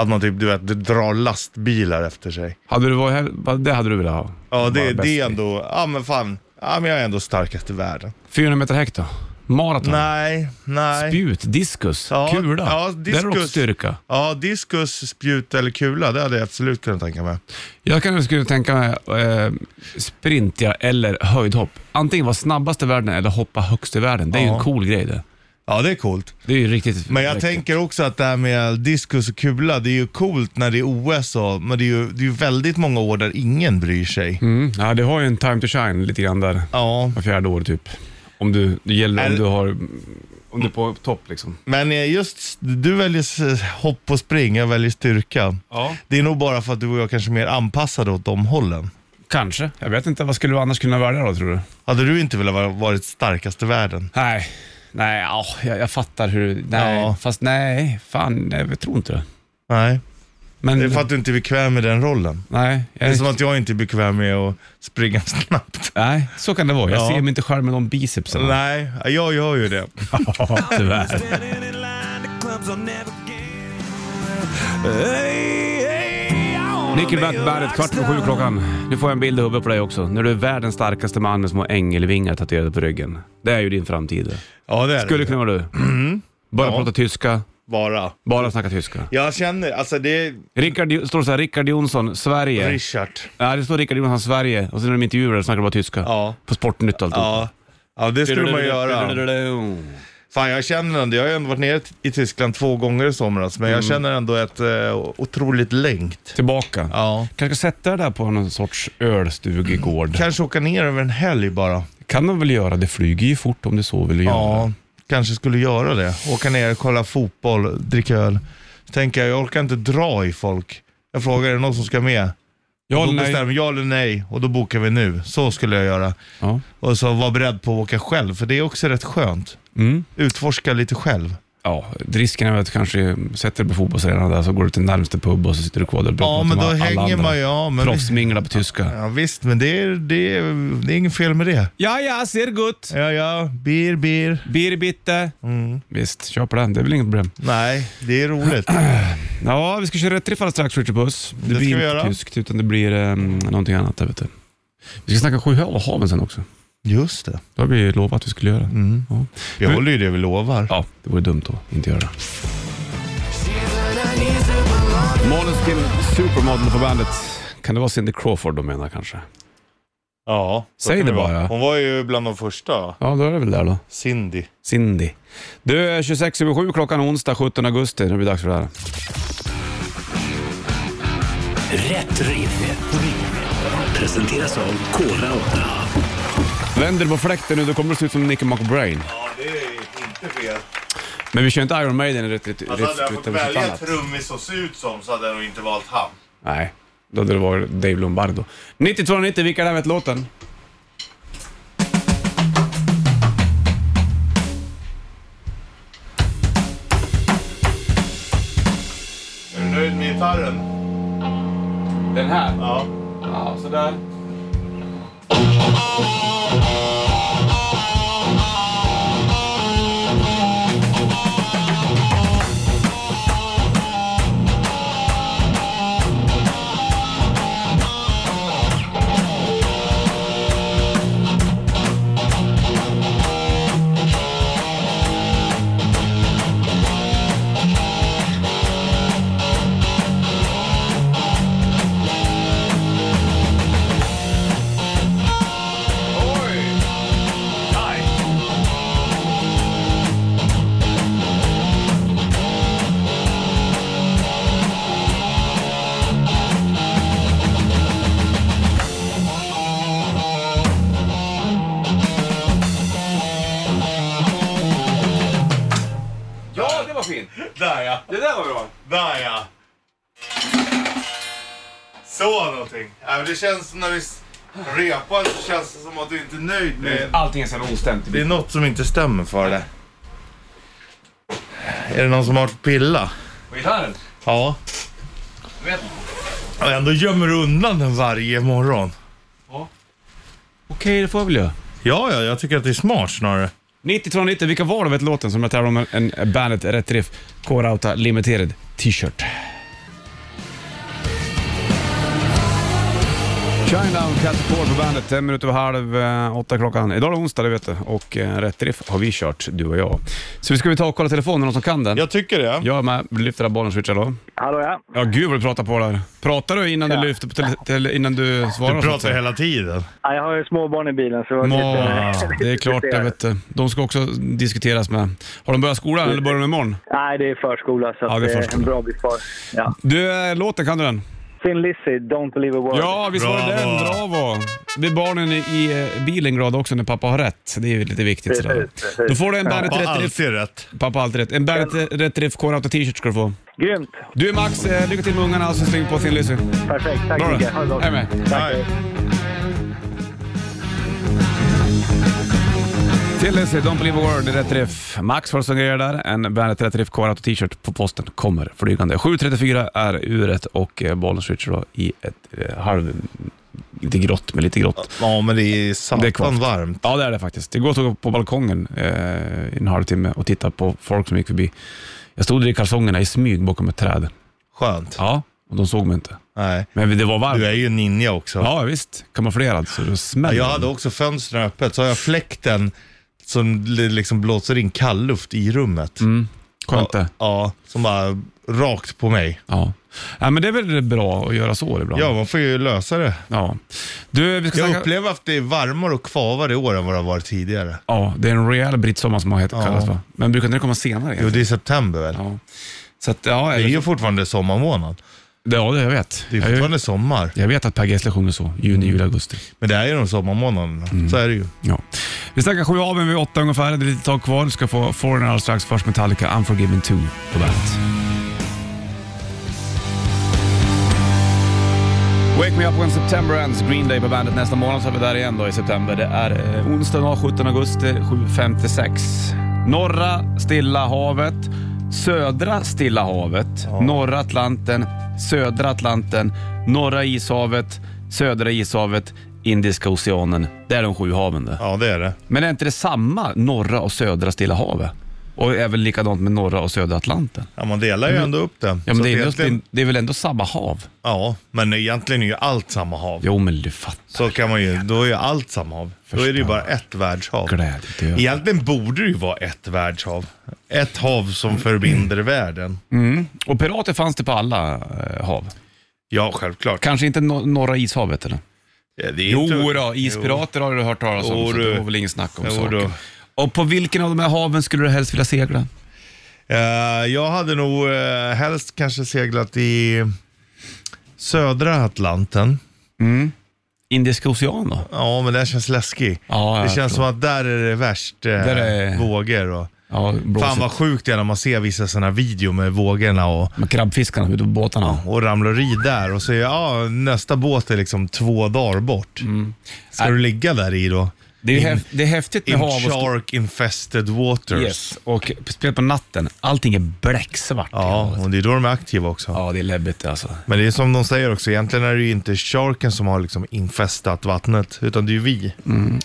Speaker 3: Att man typ, du vet, drar lastbilar efter sig.
Speaker 2: Hade du varit här, det hade du velat ha.
Speaker 3: Ja,
Speaker 2: Vara
Speaker 3: det,
Speaker 2: bäst
Speaker 3: det
Speaker 2: i.
Speaker 3: är ändå, ja men fan, ja men jag är ändå starkast i världen.
Speaker 2: 400 meter häck då? Maraton?
Speaker 3: Nej, nej.
Speaker 2: Spjut? Diskus?
Speaker 3: Ja,
Speaker 2: kula?
Speaker 3: ja,
Speaker 2: Där har du också
Speaker 3: diskus.
Speaker 2: styrka.
Speaker 3: Ja, diskus, spjut eller kula, det hade jag absolut kunnat tänka mig.
Speaker 2: Jag kan, skulle tänka mig eh, sprint ja, eller höjdhopp. Antingen vara snabbast i världen eller hoppa högst i världen. Det är ju
Speaker 3: Ja.
Speaker 2: en cool grej det.
Speaker 3: Ja, det är coolt.
Speaker 2: Det är ju riktigt
Speaker 3: Men jag
Speaker 2: mäktigt.
Speaker 3: tänker också att det här med diskus och kula, det är ju coolt när det är OS och, men det är ju det är ju väldigt många år där ingen bryr sig.
Speaker 2: Mm. Ja, det har ju en time to shine lite grann där.
Speaker 3: Ja,
Speaker 2: Var fjärde år typ. Om du, det gäller om
Speaker 3: Eller-
Speaker 2: du har... Om du är på topp liksom.
Speaker 3: men eh, just du väljer s- hopp och spring, jag väljer styrka.
Speaker 2: Ja.
Speaker 3: Det är nog bara för att du och jag kanske är mer anpassade åt de hållen.
Speaker 2: Kanske. Jag vet inte. Vad skulle du annars kunna välja då tror du?
Speaker 3: Hade du inte velat vara varit starkast i världen?
Speaker 2: Nej. Nej, ja, jag, jag fattar hur... Nej,
Speaker 3: Ja.
Speaker 2: fast nej. Fan, nej, jag tror inte det.
Speaker 3: Nej,
Speaker 2: Men,
Speaker 3: det är för att du inte är bekväm med den rollen.
Speaker 2: nej,
Speaker 3: Det
Speaker 2: jag,
Speaker 3: är som att jag inte är bekväm med att springa snabbt.
Speaker 2: nej, så kan det vara. Jag
Speaker 3: Ja.
Speaker 2: ser mig inte själv med de bicepsen.
Speaker 3: Nej, jag gör ju det.
Speaker 2: Ja, tyvärr.
Speaker 1: Standing in line to clubs I'll never get. Hey, hey, I wanna
Speaker 2: Nickelback
Speaker 1: be a
Speaker 2: Bandet, kvart över sju klockan. Nu får jag en bild i huvudet på dig också. När du är världens starkaste man med små ängelvingar tatuerade på ryggen. Det är ju din framtid.
Speaker 3: Ja, det är
Speaker 2: Skulle
Speaker 3: det.
Speaker 2: kunna vara du. Bara
Speaker 3: Mm. Ja.
Speaker 2: prata tyska,
Speaker 3: Bara.
Speaker 2: bara snacka tyska.
Speaker 3: Jag känner, alltså det är
Speaker 2: Rickard, Jo- står det så här, Rickard Jonsson, Sverige.
Speaker 3: Richard.
Speaker 2: Nej, det står Rickard Jonsson, Sverige. Och sen när de intervjuar snackar de bara tyska.
Speaker 3: Ja.
Speaker 2: På Sportnytt och allt.
Speaker 3: Ja. ja, det skulle man göra. Fan, jag känner ändå, jag har ju ändå varit nere i Tyskland två gånger i somras, men jag
Speaker 2: Mm.
Speaker 3: känner ändå ett eh, otroligt längt.
Speaker 2: Tillbaka.
Speaker 3: Ja.
Speaker 2: Kanske sätta dig där på någon sorts ölstugegård.
Speaker 3: Kanske åka ner över en helg bara.
Speaker 2: Kan de väl göra. Det flyger ju fort om du så vill göra.
Speaker 3: Ja, kanske skulle göra det. Åka ner, kolla fotboll, dricka öl. Så tänker jag, jag orkar inte dra i folk. Jag frågar, är det någon som ska med?
Speaker 2: Ja,
Speaker 3: då
Speaker 2: eller nej.
Speaker 3: bestämmer jag eller nej och då bokar vi nu. Så skulle jag göra.
Speaker 2: Ja.
Speaker 3: Och så var beredd på att åka själv, för det är också rätt skönt.
Speaker 2: Mm.
Speaker 3: Utforska lite själv.
Speaker 2: Ja, risken är väl att du kanske sätter dig på fotbollsarenan där, så går du till närmaste pub och så sitter du kvar där och pratar
Speaker 3: Ja, men
Speaker 2: med
Speaker 3: då
Speaker 2: alla
Speaker 3: hänger
Speaker 2: andra.
Speaker 3: man ju ja, men vi,
Speaker 2: Proffsminglar på tyska.
Speaker 3: ja, Visst, men det är, det, är, det är inget fel med det.
Speaker 2: Ja, ja, ser gott.
Speaker 3: Ja, ja, bir, bir.
Speaker 2: Bir bitte.
Speaker 3: Mm.
Speaker 2: Visst, kör på den. Det är väl inget problem.
Speaker 3: Nej, det är roligt.
Speaker 2: Ja, vi ska köra ett riffall strax, Richard Puss. Det,
Speaker 3: Det ska
Speaker 2: blir
Speaker 3: vi
Speaker 2: inte
Speaker 3: göra.
Speaker 2: tyskt, utan det blir um, någonting annat. Där, vet du. Vi ska snacka Sjuhäradshaven och haven sen också.
Speaker 3: Just det.
Speaker 2: Det har vi lovat att vi skulle göra.
Speaker 3: Mm.
Speaker 2: Ja.
Speaker 3: Vi håller ju det vi lovar.
Speaker 2: ja, det vore dumt att inte göra det. Måneskin Supermodel på bandet. Kan det vara Cindy Crawford de menar kanske?
Speaker 3: Ja, så
Speaker 2: Säg
Speaker 3: kan
Speaker 2: det
Speaker 3: vara.
Speaker 2: bara.
Speaker 3: Hon var ju bland de första.
Speaker 2: Ja, då är det väl där då.
Speaker 3: Cindy.
Speaker 2: Cindy. Du, är 26 över 7 klockan onsdag 17 augusti. Nu blir det dags för det här.
Speaker 5: Rätt riff. Presenteras av Kora 8.
Speaker 2: Vänder du på fläkten nu, då kommer du se ut som Nicky McBrain.
Speaker 3: Ja, det är inte fel.
Speaker 2: Men vi kör inte Iron Maiden eller ett riff
Speaker 3: Alltså hade jag fått
Speaker 2: utan vi kör ett
Speaker 3: välja
Speaker 2: annat.
Speaker 3: trummis att se ut som så hade jag nog inte valt han.
Speaker 2: Nej, då hade det varit Dave Lombardo. 9290, vilka är det här med låten?
Speaker 3: Är du nöjd med gitarren?
Speaker 2: Den här?
Speaker 3: Ja.
Speaker 2: Ja, sådär. Ja, det var fint.
Speaker 3: Där ja.
Speaker 2: Det där var bra.
Speaker 3: Där ja. Så någonting. Äh, men det känns som när vi s- repar så känns det som att du inte är nöjd med...
Speaker 2: Allting är så här ostämt.
Speaker 3: Det är något som inte stämmer för det. Är det någon som har pilla?
Speaker 2: På gitarren?
Speaker 3: Ja. Och ändå gömmer du undan den varje morgon.
Speaker 2: Okej, det får jag väl göra.
Speaker 3: Ja, ja, jag tycker att det är smart snarare.
Speaker 2: 9290, vilka var det vet låten som jag tävlar om en, en Bandet Rätt Riff K-Rauta Limited t-shirt? Shinedown, Cat Core på bandet. En minut över halv eh, åtta klockan. Idag är det onsdag, det vet du. Och eh, rätt riff har vi kört, du och jag. Så vi ska vi ta och kolla telefonen, någon som kan den?
Speaker 3: Jag tycker det.
Speaker 2: Jag är med. Vi lyfter där bollen switchar då.
Speaker 6: Hallå ja.
Speaker 2: Ja, gud vad du pratar på där. Pratar du innan du lyfter på tele- tele- innan du svarar?
Speaker 3: Du
Speaker 2: så att
Speaker 3: pratar
Speaker 2: säga?
Speaker 3: hela tiden.
Speaker 6: Ja, Jag har ju småbarn i bilen så...
Speaker 2: Må,
Speaker 6: lite-
Speaker 2: det är klart det vet du. De ska också diskuteras med. Har de börjat skolan eller börjar de imorgon?
Speaker 6: Nej, det är förskola så
Speaker 2: Ja,
Speaker 6: att
Speaker 2: det
Speaker 6: det
Speaker 2: är
Speaker 6: är,
Speaker 2: förskola.
Speaker 6: en bra bit kvar. Ja.
Speaker 2: Du, eh, låten, kan du den?
Speaker 6: Thin Lizzy, Don't Believe a Word.
Speaker 2: Ja, visst var det
Speaker 3: Bravo.
Speaker 2: den. Bravo! Det är barnen i- i eh, bilen glada också när pappa har rätt. Det är ju lite viktigt. Sådär.
Speaker 6: Precis,
Speaker 2: Då
Speaker 6: precis.
Speaker 2: får du en Bandet
Speaker 3: Har
Speaker 2: Rätt Riff.
Speaker 3: alltid rätt.
Speaker 2: Pappa har alltid rätt. En Bandet Rätt Riff K-Rauta t-shirt ska du få.
Speaker 6: Grymt!
Speaker 2: Du Max, eh, lycka till med ungarna och så släng på Thin Lizzy.
Speaker 6: Perfekt, tack
Speaker 2: Bra
Speaker 6: så
Speaker 2: då.
Speaker 6: mycket. Ha det gott.
Speaker 2: Hej med.
Speaker 6: Tack.
Speaker 3: Nej.
Speaker 2: Thin Lizzy, Don't Believe a Word, Rätt Riff. Max får suggerera där. En Bandet Rätt Riff K-Rauta t-shirt på posten kommer flygande. 7.34 är uret och eh, bollen switchar då i ett eh, halv... Inte grått, men lite grått.
Speaker 3: Ja, men det är
Speaker 2: Det är kvavt.
Speaker 3: satan varmt.
Speaker 2: Ja, det är det faktiskt. Igår stod jag på balkongen eh, i en halvtimme och tittade på folk som gick förbi. Jag stod i kalsongerna i smyg bakom ett träd.
Speaker 3: Skönt.
Speaker 2: Ja, och de såg mig inte.
Speaker 3: Nej.
Speaker 2: Men det var varmt.
Speaker 3: Du är ju ninja också.
Speaker 2: Ja, visst. Kamouflerad så det
Speaker 3: Ja,
Speaker 2: smäller.
Speaker 3: Jag hade också fönstren öppet, så har jag fläkten som li- liksom blåser in kall luft i rummet.
Speaker 2: Skönt det.
Speaker 3: Ja, som bara rakt på mig.
Speaker 2: Ja. ja. men det är väl bra att göra så ibland.
Speaker 3: Ja, man får ju lösa det.
Speaker 2: ja. Du, vi ska
Speaker 3: Jag
Speaker 2: snacka...
Speaker 3: upplever att det är varmare och kvavare i år än vad det har varit tidigare.
Speaker 2: Ja, det är en rejäl brittsommar som har hetat
Speaker 3: Ja.
Speaker 2: kallas va? Men brukar inte det komma senare?
Speaker 3: Jo,
Speaker 2: egentligen?
Speaker 3: det är september väl?
Speaker 2: Ja. Så att, ja,
Speaker 3: Det är
Speaker 2: eller-
Speaker 3: ju fortfarande sommarmånad.
Speaker 2: ja, det jag vet.
Speaker 3: Det är
Speaker 2: jag,
Speaker 3: fortfarande sommar.
Speaker 2: jag vet att Per Gessle sjunger så. Juni, juli, augusti.
Speaker 3: Men det är ju de sommarmånaderna.
Speaker 2: Mm.
Speaker 3: Så är det ju.
Speaker 2: Ja. Vi snackar sju av en vid åtta ungefär. Det är lite tag kvar. Du ska få Foreigner alldeles strax. Först Metallica, Unforgiven 2 på bandet. Wake Me Up When September Ends, Green Day på bandet. Nästa månad så är vi där igen då i september. Det är eh, onsdag den 17 augusti 7.56. Norra Stilla havet, södra Stilla havet, norra Atlanten, södra Atlanten, norra ishavet, södra ishavet, Indiska oceanen. Det är de sju haven det.
Speaker 3: Ja, det är det.
Speaker 2: Men är inte det samma norra och södra Stilla havet? Och även likadant med norra och södra Atlanten?
Speaker 3: Ja, man delar ju ändå upp det.
Speaker 2: Mm. Ja, men
Speaker 3: Så
Speaker 2: det, är
Speaker 3: att
Speaker 2: egentligen...
Speaker 3: egentligen,
Speaker 2: det är väl ändå samma hav?
Speaker 3: ja, men egentligen är ju allt samma hav.
Speaker 2: Jo, men du fattar.
Speaker 3: Så kan man ju, då är ju allt samma hav. Då är det ju bara ett världshav.
Speaker 2: Glädje till ögat.
Speaker 3: Egentligen borde det ju vara ett världshav. Ett hav som förbinder
Speaker 2: Mm.
Speaker 3: världen.
Speaker 2: Och pirater fanns det på alla eh, hav.
Speaker 3: Ja, självklart.
Speaker 2: Kanske inte no norra ishavet eller?
Speaker 3: Ja, det är
Speaker 2: Jo
Speaker 3: inte-
Speaker 2: då, ispirater har du hört talas om,
Speaker 3: Jo,
Speaker 2: så det
Speaker 3: du.
Speaker 2: var väl ingen snack om
Speaker 3: Jo,
Speaker 2: saken.
Speaker 3: du.
Speaker 2: Och på vilken av de här haven skulle du helst vilja segla?
Speaker 3: Eh, jag hade nog eh, helst kanske seglat i södra Atlanten.
Speaker 2: Indiska ocean då?
Speaker 3: Ja, men det här känns läskigt.
Speaker 2: Ja,
Speaker 3: det
Speaker 2: jag
Speaker 3: känns
Speaker 2: tror.
Speaker 3: som att där är det värst eh,
Speaker 2: Där är-
Speaker 3: vågor. Och...
Speaker 2: Ja, blåsigt.
Speaker 3: Fan vad sjukt det är när man ser vissa sådana videor med vågorna och,
Speaker 2: Med krabbfiskarna ute på båtarna.
Speaker 3: och ramlar i där och säger ja, nästa båt är liksom två dagar bort.
Speaker 2: Mm.
Speaker 3: Ska du ligga där i då?
Speaker 2: Det är, ju
Speaker 3: In-
Speaker 2: häf- det är häftigt med
Speaker 3: In
Speaker 2: hav och skog.
Speaker 3: shark infested waters.
Speaker 2: Yes. Och speciellt på natten, allting är bläcksvart. i
Speaker 3: Ja,
Speaker 2: havet.
Speaker 3: och det är då de är aktiva också.
Speaker 2: ja, det är läbbigt alltså.
Speaker 3: Men det är som de säger också, egentligen är det ju inte sharken som har liksom infestat vattnet, utan det är ju vi.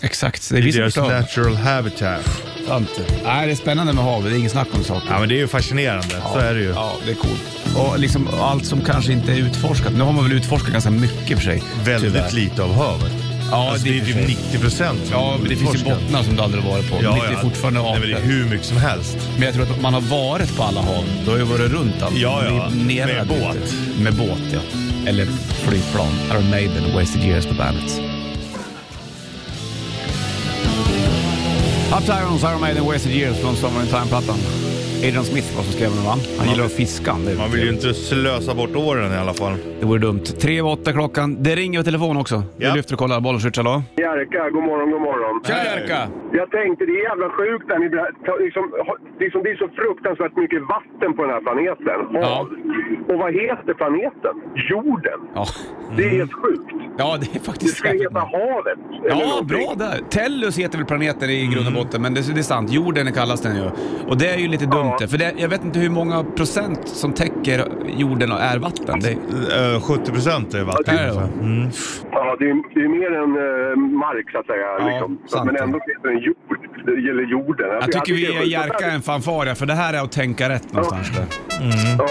Speaker 2: Exakt, det är vi som
Speaker 3: Deras
Speaker 2: förstör.
Speaker 3: natural habitat.
Speaker 2: Sant. Nej, det är spännande med havet, det är ingen snack om saken.
Speaker 3: Ja, men det är ju fascinerande, så är det ju.
Speaker 2: Ja, det är coolt. Och liksom allt som kanske inte är utforskat. Nu har man väl utforskat ganska mycket i och för sig.
Speaker 3: Väldigt
Speaker 2: tyvärr.
Speaker 3: lite av havet.
Speaker 2: Ja,
Speaker 3: alltså, det är typ 90 procent.
Speaker 2: Ja, men det finns ju bottnar som du aldrig varit på. Ja, det är fortfarande
Speaker 3: Nej,
Speaker 2: apor.
Speaker 3: men det är hur mycket som helst.
Speaker 2: Men jag tror att man har varit på alla hav. Du har ju varit runt allt.
Speaker 3: Ja, ja.
Speaker 2: Det är nere
Speaker 3: Med
Speaker 2: där
Speaker 3: båt.
Speaker 2: ute. Med båt, ja. Eller flygplan. Iron Maiden, Wasted Years på bandet. Up to Irons, Iron Maiden, Wasted Years från Summer in Time-plattan. Adrian Smith var som skrev den va? Han gillar att fiska. Det är
Speaker 3: Man vill ju inte slösa bort åren i alla fall.
Speaker 2: Det vore dumt. Tre över åtta klockan. Det ringer på telefon också. Vi
Speaker 3: Ja.
Speaker 2: lyfter och kollar. Bollen switch, hallå?
Speaker 7: Jerka, god morgon, god morgon.
Speaker 2: Tja Jerka!
Speaker 7: Jag tänkte, det är jävla sjukt där ni ber- ta- liksom, ha- liksom, Det är så fruktansvärt mycket vatten på den här planeten. Hav. Och vad heter planeten? Jorden.
Speaker 2: Ja.
Speaker 7: Det är helt sjukt.
Speaker 2: ja, Mm. det är
Speaker 7: Det
Speaker 2: faktiskt
Speaker 7: ska
Speaker 2: skönt.
Speaker 7: heta havet. eller
Speaker 2: Ja,
Speaker 7: någonting. Mm.
Speaker 2: bra där. Tellus heter väl planeten i grund och botten, men det, det är sant. Jorden kallas den ju. Och det är ju lite dumt det, för det, jag vet inte hur många procent som täcker jorden och är vatten. Det,
Speaker 3: Eh, 70 procent är vatten.
Speaker 2: är det, va?
Speaker 3: Mm.
Speaker 7: Ja, Ja, det är, det är mer än eh, mark så att säga.
Speaker 2: Ja,
Speaker 7: liksom.
Speaker 2: sant.
Speaker 7: Men ändå heter den jord. Det gäller jorden. Alltså,
Speaker 2: Jag tycker vi ger
Speaker 7: är
Speaker 2: Jerka en fanfar ja, för det här är att tänka rätt någonstans. där.
Speaker 7: Ja,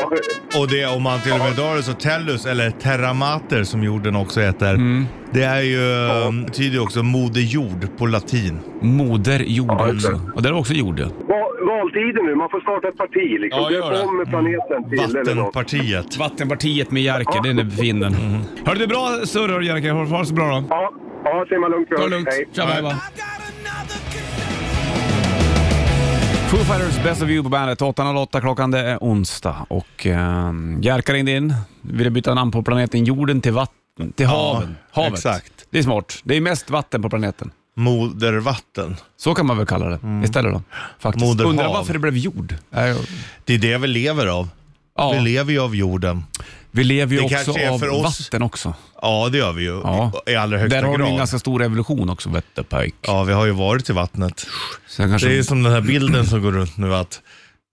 Speaker 3: Och det, om man till och med drar det så Tellus, eller Terramater som jorden också heter.
Speaker 2: Mm.
Speaker 3: Det är ju, betyder ju också Moder Jord på latin.
Speaker 2: Moder jord
Speaker 7: Ja, just det.
Speaker 2: också. Och där är också jord. ja.
Speaker 7: Val, valtider nu. Man får starta ett parti liksom.
Speaker 2: Ja, gör det.
Speaker 7: Döp om planeten till eller något.
Speaker 3: Vattenpartiet.
Speaker 2: Vattenpartiet med Jerker, den är fin den.
Speaker 7: Mm.
Speaker 2: Hörde du bra surr hör Jerker, ha det så bra då.
Speaker 7: Ja, ja simma lugnt.
Speaker 2: Ta det lugnt,
Speaker 7: Hej.
Speaker 2: tja bye bye. Foo Fighters Best of You på bandet. 8.08 klockan, det är onsdag. Och eh, Jerka ringde in, ville byta namn på planeten jorden till vatten, till haven. Havet.
Speaker 3: exakt.
Speaker 2: Det är smart. Det är mest vatten på planeten.
Speaker 3: Modervatten.
Speaker 2: Så kan man väl kalla det istället då. Faktiskt.
Speaker 3: Mm. Moderhav.
Speaker 2: Undrar varför det blev jord? Äh,
Speaker 3: Det är det vi lever av.
Speaker 2: Ja,
Speaker 3: Vi lever ju av jorden.
Speaker 2: vi lever ju
Speaker 3: Det
Speaker 2: också
Speaker 3: kanske är
Speaker 2: av
Speaker 3: för oss.
Speaker 2: vatten också.
Speaker 3: Ja, det gör vi ju.
Speaker 2: Ja.
Speaker 3: I allra högsta
Speaker 2: Där har
Speaker 3: grad.
Speaker 2: du en ganska stor evolution också, Wetterpike.
Speaker 3: Ja, vi har ju varit i vattnet.
Speaker 2: Sen kanske...
Speaker 3: Det är som den här bilden som går runt nu att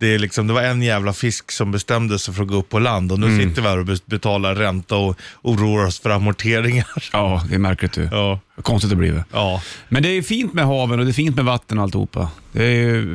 Speaker 3: det, är liksom, det var en jävla fisk som bestämde sig för att gå upp på land och nu
Speaker 2: Mm.
Speaker 3: sitter vi här och be- betalar ränta och oroar oss för amorteringar.
Speaker 2: Ja, det är märkligt du.
Speaker 3: Ja.
Speaker 2: Konstigt det blivit.
Speaker 3: Ja.
Speaker 2: Men det är fint med haven och det är fint med vatten och alltihopa. Det är ju,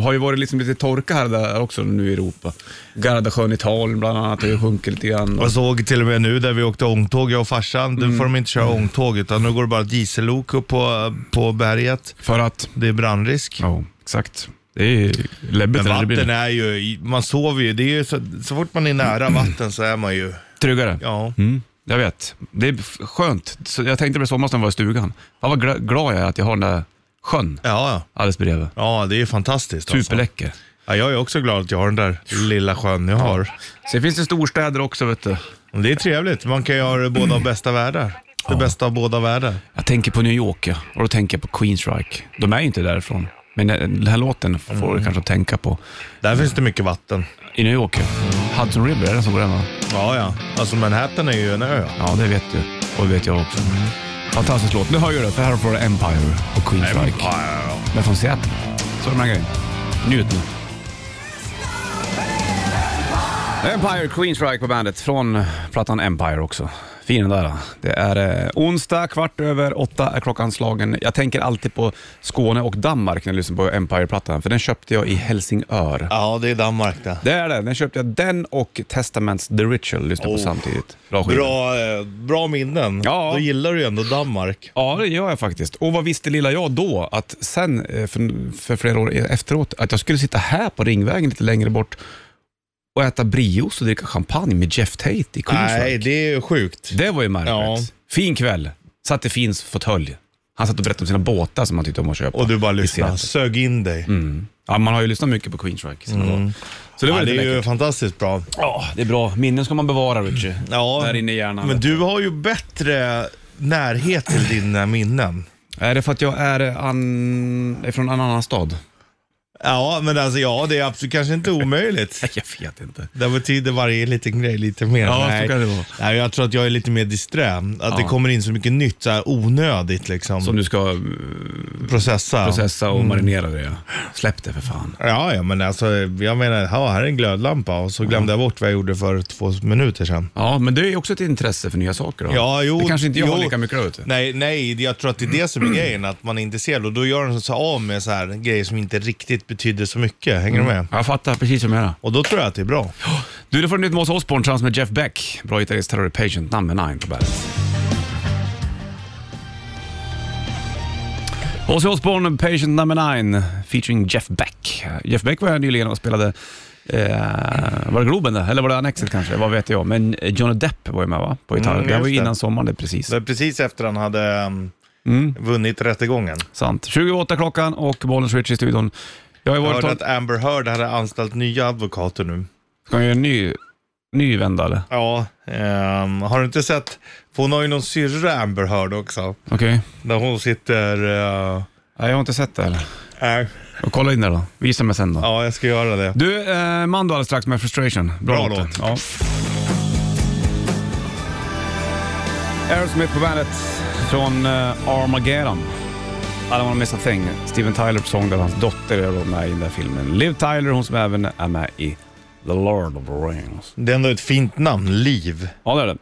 Speaker 2: har ju varit liksom lite torka här och där också nu i Europa. Gardasjön i Italien bland annat har ju sjunkit lite grann.
Speaker 3: Jag såg till och med nu där vi åkte ångtåg, jag och farsan,
Speaker 2: Mm.
Speaker 3: nu får de inte köra ångtåg utan nu går det bara diesellok upp på, på berget.
Speaker 2: För att...
Speaker 3: Det är brandrisk.
Speaker 2: Ja, exakt. Det är ju läbbigt
Speaker 3: Men
Speaker 2: när det
Speaker 3: vatten
Speaker 2: blir
Speaker 3: är ju, man sover ju, det är ju så, så fort man är nära vatten så är man ju,
Speaker 2: tryggare.
Speaker 3: ja.
Speaker 2: Mm, jag vet. Det är f- skönt. Så jag tänkte på det somras när jag var i stugan. Fan vad gla- glad jag är att jag har den där sjön
Speaker 3: Ja, ja.
Speaker 2: alldeles bredvid.
Speaker 3: ja det är ju fantastiskt. alltså.
Speaker 2: Superläcker.
Speaker 3: Ja, jag är också glad att jag har den där lilla sjön jag har.
Speaker 2: Sen finns det storstäder också vet du.
Speaker 3: Det är trevligt. Man kan göra det båda av bästa världar. Det bästa av båda världar.
Speaker 2: Jag tänker på New York ja. och då tänker jag på Queensryche. De är ju inte därifrån. Men den här låten får du kanske att tänka på.
Speaker 3: Där finns det mycket vatten.
Speaker 2: I New York ja. Hudson River är det som går den va?
Speaker 3: Ja, ja. Alltså Manhattan är ju en ö.
Speaker 2: Ja, det vet du. Och det vet jag också. Mm. Fantastisk låt. Nu hör ju det, för här får du Empire och Queensryche. Men från Seattle. Så är det med den grejen. Njut nu. Empire, Queensryche på bandet från plattan Empire också. Fin den där. Det är eh, onsdag, kvart över åtta är klockan slagen. Jag tänker alltid på Skåne och Danmark när jag lyssnar på Empire-plattan, för den köpte jag i Helsingör.
Speaker 3: Ja, det är Danmark det.
Speaker 2: Det är det. Den köpte jag, den och Testaments The Ritual lyssnade på
Speaker 3: Oh.
Speaker 2: samtidigt. Bra skiva.
Speaker 3: Bra, eh, bra minnen.
Speaker 2: Ja.
Speaker 3: Då gillar du ju ändå Danmark.
Speaker 2: Ja, det gör jag faktiskt. Och vad visste lilla jag då, att sen eh, för, för flera år efteråt, att jag skulle sitta här på Ringvägen lite längre bort och äta brios och dricka champagne med Jeff Tate i
Speaker 3: Nej,
Speaker 2: Queensrÿche.
Speaker 3: det är ju sjukt.
Speaker 2: Det var ju märkligt.
Speaker 3: Ja.
Speaker 2: Fin kväll. Satt i Fins fåtölj. Han satt och berättade om sina båtar som han tyckte om att köpa.
Speaker 3: Och du bara
Speaker 2: i
Speaker 3: lyssnar.
Speaker 2: Seattle.
Speaker 3: Sög in dig.
Speaker 2: Ja, man har ju lyssnat mycket på Queensrÿche. Mm. Så Mm. det var
Speaker 3: Ja, det
Speaker 2: lite
Speaker 3: är ju
Speaker 2: läckert.
Speaker 3: fantastiskt bra.
Speaker 2: Ja, det är bra. Minnen ska man bevara, Richie.
Speaker 3: Ja,
Speaker 2: Där inne i hjärnan.
Speaker 3: Men du har ju bättre närhet till dina minnen.
Speaker 2: Är det för att jag är eh, an... är från en annan stad?
Speaker 3: Ja, men alltså ja, det är absolut kanske inte omöjligt.
Speaker 2: Jag vet inte.
Speaker 3: Där betyder varje liten grej lite mer.
Speaker 2: Ja, så kan det vara.
Speaker 3: Nej, jag tror att jag är lite mer disträ. Att det kommer in så mycket nytt, så här onödigt liksom.
Speaker 2: Som du ska eh,
Speaker 3: processa.
Speaker 2: processa och marinera det. ja. Mm. Släpp det för fan.
Speaker 3: Ja, ja, men alltså jag menar, ja, här är en glödlampa och så glömde jag bort vad jag gjorde för två minuter sedan.
Speaker 2: Ja, men det är ju också ett intresse för nya saker. Då.
Speaker 3: Ja, jo.
Speaker 2: det kanske inte jag har
Speaker 3: jo.
Speaker 2: lika mycket av. Nej.
Speaker 3: Nej, nej, jag tror att det är det som
Speaker 2: Mm.
Speaker 3: är grejen, att man är intresserad och då gör den sig av med så här grejer som inte riktigt betyder så mycket. Hänger du med?
Speaker 2: Jag fattar precis som jag menar.
Speaker 3: Och då tror jag att det är bra.
Speaker 2: Du, det får du nytt Mås Osborn tillsammans med Jeff Beck. Bra gitarrist, Terror Patient, number nine på bandet. Ozzy Osbourne, Patient number nine, featuring Jeff Beck. Jeff Beck var här nyligen och spelade, eh, var det Globen det? Eller var det Annexet kanske? Vad vet jag? Men eh, Johnny Depp var ju med va? På gitarr.
Speaker 3: Mm,
Speaker 2: det här var
Speaker 3: just
Speaker 2: ju
Speaker 3: det.
Speaker 2: innan sommaren det, precis.
Speaker 3: Det är precis efter han hade ehm,
Speaker 2: Mm.
Speaker 3: vunnit rättegången.
Speaker 2: Sant. 28 klockan och Bollens Rich i studion. Jag har ju
Speaker 3: Jag
Speaker 2: varit
Speaker 3: hörde
Speaker 2: och...
Speaker 3: att Amber Heard hade anställt nya advokater nu.
Speaker 2: Ska jag göra en ny, ny vända eller?
Speaker 3: Ja, ehm, har du inte sett? För hon har ju någon syrra Amber Heard också.
Speaker 2: Okej.
Speaker 3: Där hon sitter... eh,
Speaker 2: Nej, jag har inte sett det heller.
Speaker 3: nej,
Speaker 2: Och kolla in det då. Visa mig sen då.
Speaker 3: ja, jag ska göra det.
Speaker 2: Du, eh, Mando alldeles strax med Frustration. Bra,
Speaker 3: Bra
Speaker 2: låt.
Speaker 3: låt.
Speaker 2: Ja. Aerosmith på bandet från eh, Armageddon. I don't wanna miss a thing. Steven Tyler på sång där hans dotter är då med i den där filmen. Liv Tyler, hon som även är med i The Lord of the Rings.
Speaker 3: Det är ändå ett fint namn, Liv.
Speaker 2: Ja, det är det.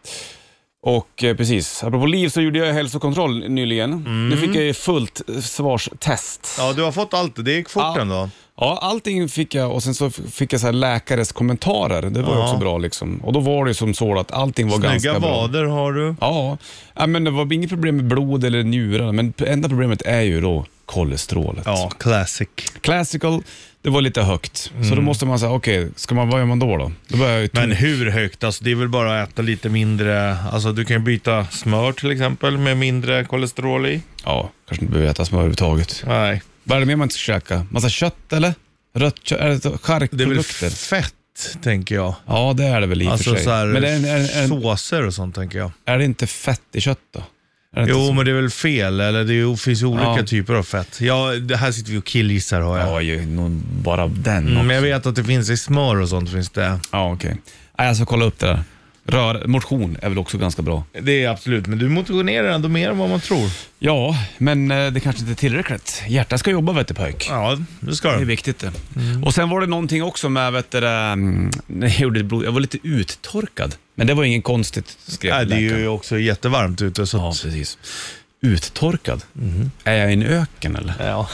Speaker 2: Och eh, precis, apropå liv så gjorde jag hälsokontroll nyligen. Nu fick jag ju fullt eh, svarstest.
Speaker 3: Ja, du har fått allt. Det gick fort
Speaker 2: Ja.
Speaker 3: ändå.
Speaker 2: Ja, allting fick jag och sen så f- fick jag så här läkares kommentarer. Det var ju
Speaker 3: Ja.
Speaker 2: också bra liksom. Och då var det ju som så att allting var
Speaker 3: Snygga
Speaker 2: ganska bra.
Speaker 3: vader har du.
Speaker 2: Ja, ja, men det var inget problem med blod eller njurarna, men p- enda problemet är ju då kolesterolet.
Speaker 3: Ja, classic.
Speaker 2: Classical, det var lite högt. Så då måste man säga, okej, ska man, vad gör man då? Då, då börjar jag ju
Speaker 3: Mm. Men hur högt? Alltså, det är väl bara att äta lite mindre. Alltså, du kan ju byta smör till exempel med mindre kolesterol i.
Speaker 2: Ja, kanske inte behöver äta smör överhuvudtaget.
Speaker 3: Nej,
Speaker 2: Vad är det mer man inte ska käka? Massa kött eller? Rött kött? Är det så-
Speaker 3: det är väl
Speaker 2: charkprodukter?
Speaker 3: fett, tänker jag.
Speaker 2: Ja, det är det väl i och
Speaker 3: Alltså
Speaker 2: för sig.
Speaker 3: så här,
Speaker 2: men är, är, är,
Speaker 3: såser och sånt tänker jag.
Speaker 2: är det inte fett i kött då? Är det inte
Speaker 3: Jo,
Speaker 2: så-
Speaker 3: men det är väl fel, eller det är ju- finns ju olika
Speaker 2: Ja.
Speaker 3: typer av fett. Ja, det här sitter vi och killgissar har jag.
Speaker 2: Ja, ju, nog bara den
Speaker 3: Mm,
Speaker 2: också.
Speaker 3: men jag vet att det finns i smör och sånt finns det.
Speaker 2: Ja, okej. Nej, Jag ska kolla upp det där. Rör, motion är väl också ganska bra.
Speaker 3: Det är absolut, men du motionerar ändå mer än vad man tror.
Speaker 2: Ja, men eh, det kanske inte är tillräckligt. Hjärtat ska jobba vet du pojk.
Speaker 3: Ja, det ska
Speaker 2: Det är
Speaker 3: du.
Speaker 2: viktigt det. Och sen var det någonting också med, vet du, det, mm, när jag gjorde ett blod, jag var lite uttorkad. Men det var ju inget konstigt, skrev
Speaker 3: Nej, det är
Speaker 2: läkaren.
Speaker 3: ju också jättevarmt ute så
Speaker 2: Ja,
Speaker 3: att,
Speaker 2: precis. Uttorkad? Är jag i en öken eller?
Speaker 3: ja.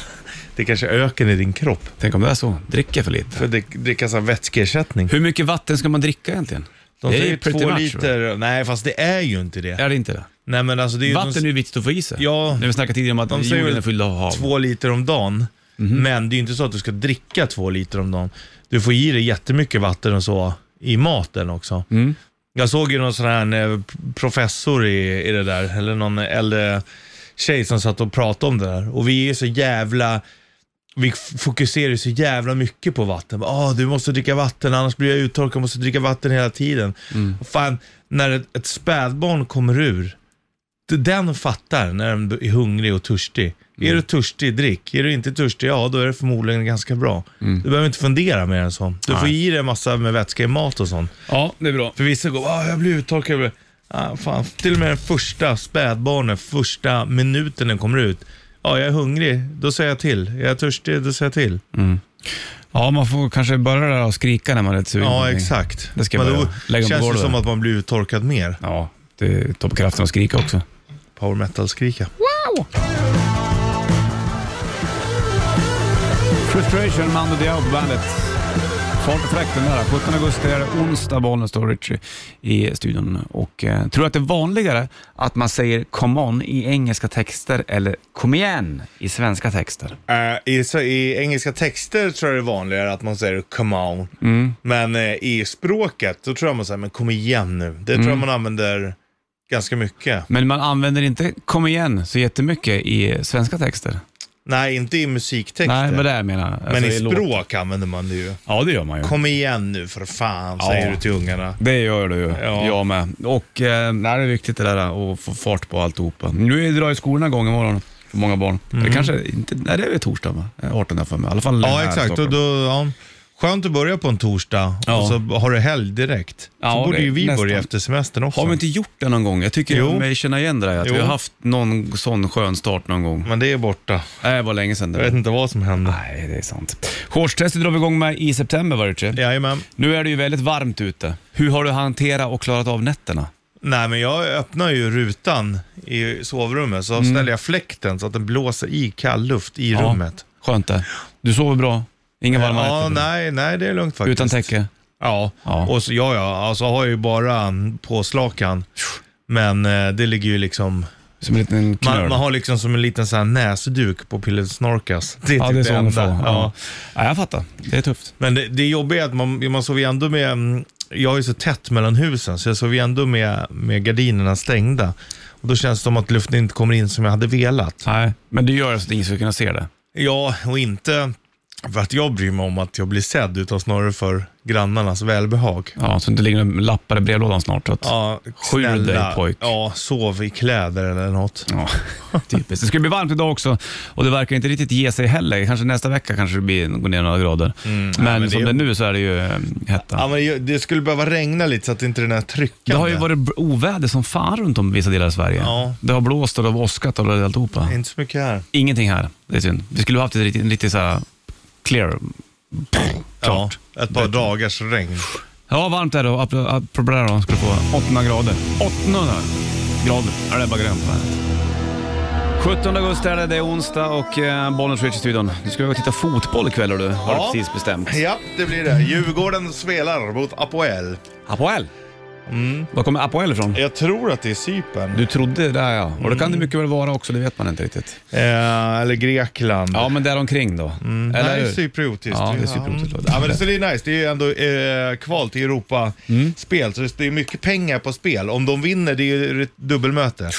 Speaker 3: Det kanske öken i din kropp.
Speaker 2: Tänk om det är så. Dricker jag för lite?
Speaker 3: För det drickas av vätskeersättning.
Speaker 2: Hur mycket vatten ska man dricka egentligen?
Speaker 3: De
Speaker 2: Det är
Speaker 3: säger ju
Speaker 2: pretty
Speaker 3: två
Speaker 2: much,
Speaker 3: liter. Nej, fast det är ju inte det.
Speaker 2: Är det inte det?
Speaker 3: Nej, men alltså det är ju
Speaker 2: Vatten är ju viktigt att få i sig.
Speaker 3: Ja.
Speaker 2: När vi snackade tidigare om att
Speaker 3: De säger
Speaker 2: jorden
Speaker 3: väl
Speaker 2: är fylld av hav.
Speaker 3: två liter om dagen. Men det är ju inte så att du ska dricka två liter om dagen. Du får i dig jättemycket vatten och så i maten också. Jag såg ju någon sån här eh, professor i, i det där, eller någon äldre tjej som satt och pratade om det där. Och vi är så jävla, vi f- fokuserar ju så jävla mycket på vatten. Ah, du måste dricka vatten, annars blir jag uttorkad, måste dricka vatten hela tiden. Fan, när ett, ett spädbarn kommer ur, det- den fattar när den är hungrig och törstig.
Speaker 2: Mm.
Speaker 3: Är du törstig, drick. Är du inte törstig, ja då är det förmodligen ganska bra.
Speaker 2: Mm.
Speaker 3: Du behöver inte fundera mer än så. Du får i dig en massa med vätska i mat och sånt.
Speaker 2: Ja, det är bra.
Speaker 3: För vissa går, ah, jag blir uttorkad. jag blir-" Ah, fan. Till och med den första spädbarnen, första minuten den kommer ut. Ja, jag är hungrig, då säger jag till. Är jag törstig, då säger jag till.
Speaker 2: Ja, man får kanske börja där och skrika när man är lite sugen. på
Speaker 3: Ja,
Speaker 2: någonting.
Speaker 3: exakt.
Speaker 2: Mm. Det ska jag
Speaker 3: Men då
Speaker 2: börja lägga mig på
Speaker 3: känns det
Speaker 2: golvet.
Speaker 3: som att man blir uttorkad mer.
Speaker 2: Ja, det tar på kraften att skrika också.
Speaker 3: Power metal-skrika.
Speaker 2: Frustration, Mando Diao på bandet. Fart och fläkt den där. 17 augusti är det onsdag, Bollnäs står Richie i studion. Och, eh, tror du att det är vanligare att man säger come on i engelska texter eller kom igen i svenska texter?
Speaker 3: Eh, i, så, I engelska texter tror jag det är vanligare att man säger come on.
Speaker 2: Mm.
Speaker 3: Men eh, i språket, då tror jag man säger men kom igen nu. Det
Speaker 2: Mm.
Speaker 3: tror jag man använder ganska mycket.
Speaker 2: Men man använder inte kom igen så jättemycket i svenska texter.
Speaker 3: Nej, inte i musiktexter.
Speaker 2: Nej, men det är jag menar. Alltså,
Speaker 3: men i
Speaker 2: låt-
Speaker 3: språk använder man det ju.
Speaker 2: Ja, det gör man ju.
Speaker 3: Kom igen nu för fan,
Speaker 2: Ja.
Speaker 3: säger du till ungarna.
Speaker 2: Det gör du ju,
Speaker 3: Ja.
Speaker 2: jag med. Och eh, nej, det är viktigt det där att få fart på alltihopa. Nu drar ju skolorna igång imorgon för många barn. Eller kanske inte, nej det är väl torsdag va? Eh, 18 där för mig. I alla fall här
Speaker 3: Mm. Ja,
Speaker 2: i
Speaker 3: exakt. Och
Speaker 2: Stockholm.
Speaker 3: då, ja. Skönt att börja på en torsdag
Speaker 2: Ja.
Speaker 3: och så har du helg direkt.
Speaker 2: Ja,
Speaker 3: så borde
Speaker 2: det-
Speaker 3: ju vi
Speaker 2: nästan.
Speaker 3: börja efter semestern också.
Speaker 2: Har vi inte gjort det någon gång? Jag tycker
Speaker 3: Jo.
Speaker 2: jag mig känna igen det där. Att vi
Speaker 3: Jo.
Speaker 2: har haft någon sån skön start någon gång.
Speaker 3: Men det är borta.
Speaker 2: Nej, det var länge sedan det
Speaker 3: Jag vet
Speaker 2: var.
Speaker 3: inte vad som hände.
Speaker 2: Nej, det är sant. Shortstestet drar vi igång med i september, var det inte?
Speaker 3: Jajamän.
Speaker 2: Nu är det ju väldigt varmt ute. Hur har du hanterat och klarat av nätterna?
Speaker 3: Nej, men jag öppnar ju rutan i sovrummet, så ställer jag fläkten så att den blåser i kall luft i
Speaker 2: Mm. Ja.
Speaker 3: rummet.
Speaker 2: Skönt det. Du sover bra? Inga varma
Speaker 3: Ja,
Speaker 2: nätter?
Speaker 3: nej, nej, det är lugnt faktiskt.
Speaker 2: Utan täcke?
Speaker 3: Ja,
Speaker 2: Ja.
Speaker 3: och så, ja, ja, alltså har jag ju bara en påslakan. Men eh, det ligger ju liksom,
Speaker 2: Som en liten knöl?
Speaker 3: man, man har liksom som en liten sån här näsduk på pillesnorkas. Det är
Speaker 2: Ja,
Speaker 3: typ
Speaker 2: det är så ungefär.
Speaker 3: enda.
Speaker 2: Ja. Ja. jag fattar. Det är tufft.
Speaker 3: Men det, det jobbiga är att man, man sover ju ändå med, mm, jag är ju så tätt mellan husen, så jag sover ju ändå med, med gardinerna stängda. Och då känns det som att luften inte kommer in som jag hade velat.
Speaker 2: Nej, men det gör alltså att ingen ska kunna se det.
Speaker 3: Ja, och inte för att jag bryr mig om att jag blir sedd, utan snarare för grannarnas välbehag.
Speaker 2: Ja, så det inte ligger några lappar i brevlådan snart. Så att...
Speaker 3: Ja,
Speaker 2: Skjul dig,
Speaker 3: snälla,
Speaker 2: pojk.
Speaker 3: Ja, sov i kläder eller något.
Speaker 2: Ja, typiskt. Det ska bli varmt idag också och det verkar inte riktigt ge sig heller. Kanske nästa vecka kanske det blir, går ner några grader. men,
Speaker 3: Mm. men det
Speaker 2: som
Speaker 3: är-
Speaker 2: det är nu så är det ju eh, hetta.
Speaker 3: Ja, men ju- det skulle behöva regna lite så att inte den här tryckande.
Speaker 2: det har ju varit br- oväder som fan runt om i vissa delar av Sverige.
Speaker 3: Ja. Mm.
Speaker 2: Det har blåst och det har åskat och det har alltihopa.
Speaker 3: Inte så mycket här.
Speaker 2: Ingenting här. Det är synd. Vi skulle ha haft ett riktigt, riktigt så här clear. Klart.
Speaker 3: Ja, ett par dagars regn.
Speaker 2: Ja, varmt är det. och ap- Apropå det här då, ska du få 800 grader. 800 grader är det bara grönt på bandet. 17 augusti är det, det är onsdag och eh, Bollnäs Rich i studion. Du ska ju titta fotboll ikväll har du, har du
Speaker 3: Ja.
Speaker 2: precis bestämt.
Speaker 3: Ja, det blir det. Djurgården spelar mot Apoel.
Speaker 2: Apoel! Var kommer Apoel ifrån? Mm.
Speaker 3: Jag tror att det är Cypern.
Speaker 2: Mm. Du trodde det, ja. Och det kan det mycket väl vara också, det vet man inte riktigt.
Speaker 3: Eh, eller Grekland.
Speaker 2: Ja, men däromkring då. Mm.
Speaker 3: Eller Nej, cypriotiskt.
Speaker 2: Ja, det är cypriotiskt.
Speaker 3: Ja, men det, så det är nice. Det är ju ändå eh, kval till
Speaker 2: Mm.
Speaker 3: Europa-spel, så det är mycket pengar på spel. Om de vinner, det är ju ett dubbelmöte.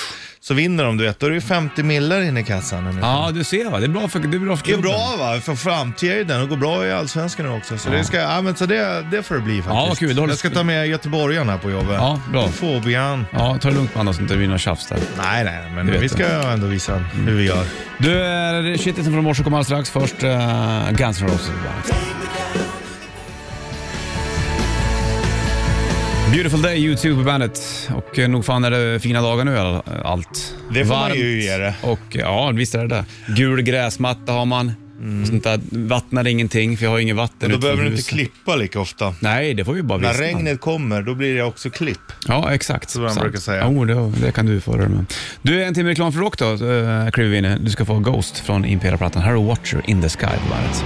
Speaker 3: Så vinner de, du vet, då är det ju 50 millar inne i kassan. ungefär.
Speaker 2: Ja, du ser va. Det är bra för, det är bra för
Speaker 3: Det är
Speaker 2: klubben.
Speaker 3: bra va, för framtiden. Det går bra i Allsvenskan nu också. Så, det, ska, ja, men så det, det får det bli faktiskt.
Speaker 2: Ja, vad kul. Då har du-
Speaker 3: Jag ska ta med göteborgaren här på jobbet.
Speaker 2: Ja, bra.
Speaker 3: Fobian.
Speaker 2: Ja, ta det lugnt man då så det inte blir någon tjafs där.
Speaker 3: Nej, nej,
Speaker 2: Du
Speaker 3: men
Speaker 2: vet Mm.
Speaker 3: vi ska ändå visa hur vi gör.
Speaker 2: Du, eh, shitlisten från morse kommer alldeles strax. Först eh, Guns N' Roses. Beautiful day, YouTube på bandet. Och eh, nog fan är det fina dagar nu all- allt.
Speaker 3: Det får man ju ge det.
Speaker 2: Och eh, ja, visst är det det. Gul gräsmatta har man. Och sånt där. Vattnar ingenting, för jag har inget vatten
Speaker 3: Mm. Men då
Speaker 2: utanför
Speaker 3: behöver du inte
Speaker 2: huset.
Speaker 3: klippa lika ofta.
Speaker 2: Nej, det får vi bara
Speaker 3: När
Speaker 2: vissna.
Speaker 3: regnet kommer, då blir det också klipp.
Speaker 2: Ja, exakt.
Speaker 3: Så vad han
Speaker 2: Sant.
Speaker 3: brukar säga.
Speaker 2: Jo, det, det kan du få det med. Du, en timme reklam för rock då, eh, kliver vi in i. Du ska få Ghost från Impera-plattan. Här är Watcher in the Sky på bandet.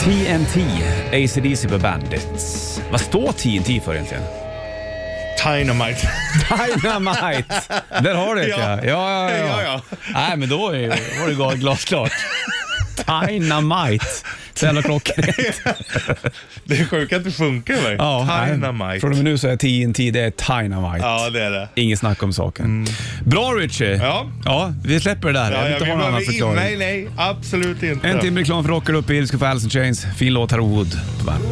Speaker 2: TNT, ACDC på bandet. Vad står TNT för egentligen?
Speaker 3: Dynamite.
Speaker 2: Dynamite! Där har du det ja.
Speaker 3: Ja.
Speaker 2: Ja, ja, ja.
Speaker 3: Ja, ja.
Speaker 2: Nej, men då är ju- var det gal- glasklart. Dynamite. Så jävla klockrent.
Speaker 3: Det är sjukt att det funkar verkligen.
Speaker 2: nej.
Speaker 3: Dynamite.
Speaker 2: Från och med nu så är TNT, det är Dynamite.
Speaker 3: Ja, det är det.
Speaker 2: Inget snack om saken. Bra Richie!
Speaker 3: Mm. Ja.
Speaker 2: ja, vi släpper det där. jag
Speaker 3: Ja,
Speaker 2: vill
Speaker 3: ja,
Speaker 2: inte
Speaker 3: vi
Speaker 2: ha någon annan
Speaker 3: behöver in,
Speaker 2: förklaring.
Speaker 3: nej, nej, absolut inte.
Speaker 2: En timme reklam för rocker upp i. Du ska få Alice in Chains. Fin låt, här är Wood på bandet.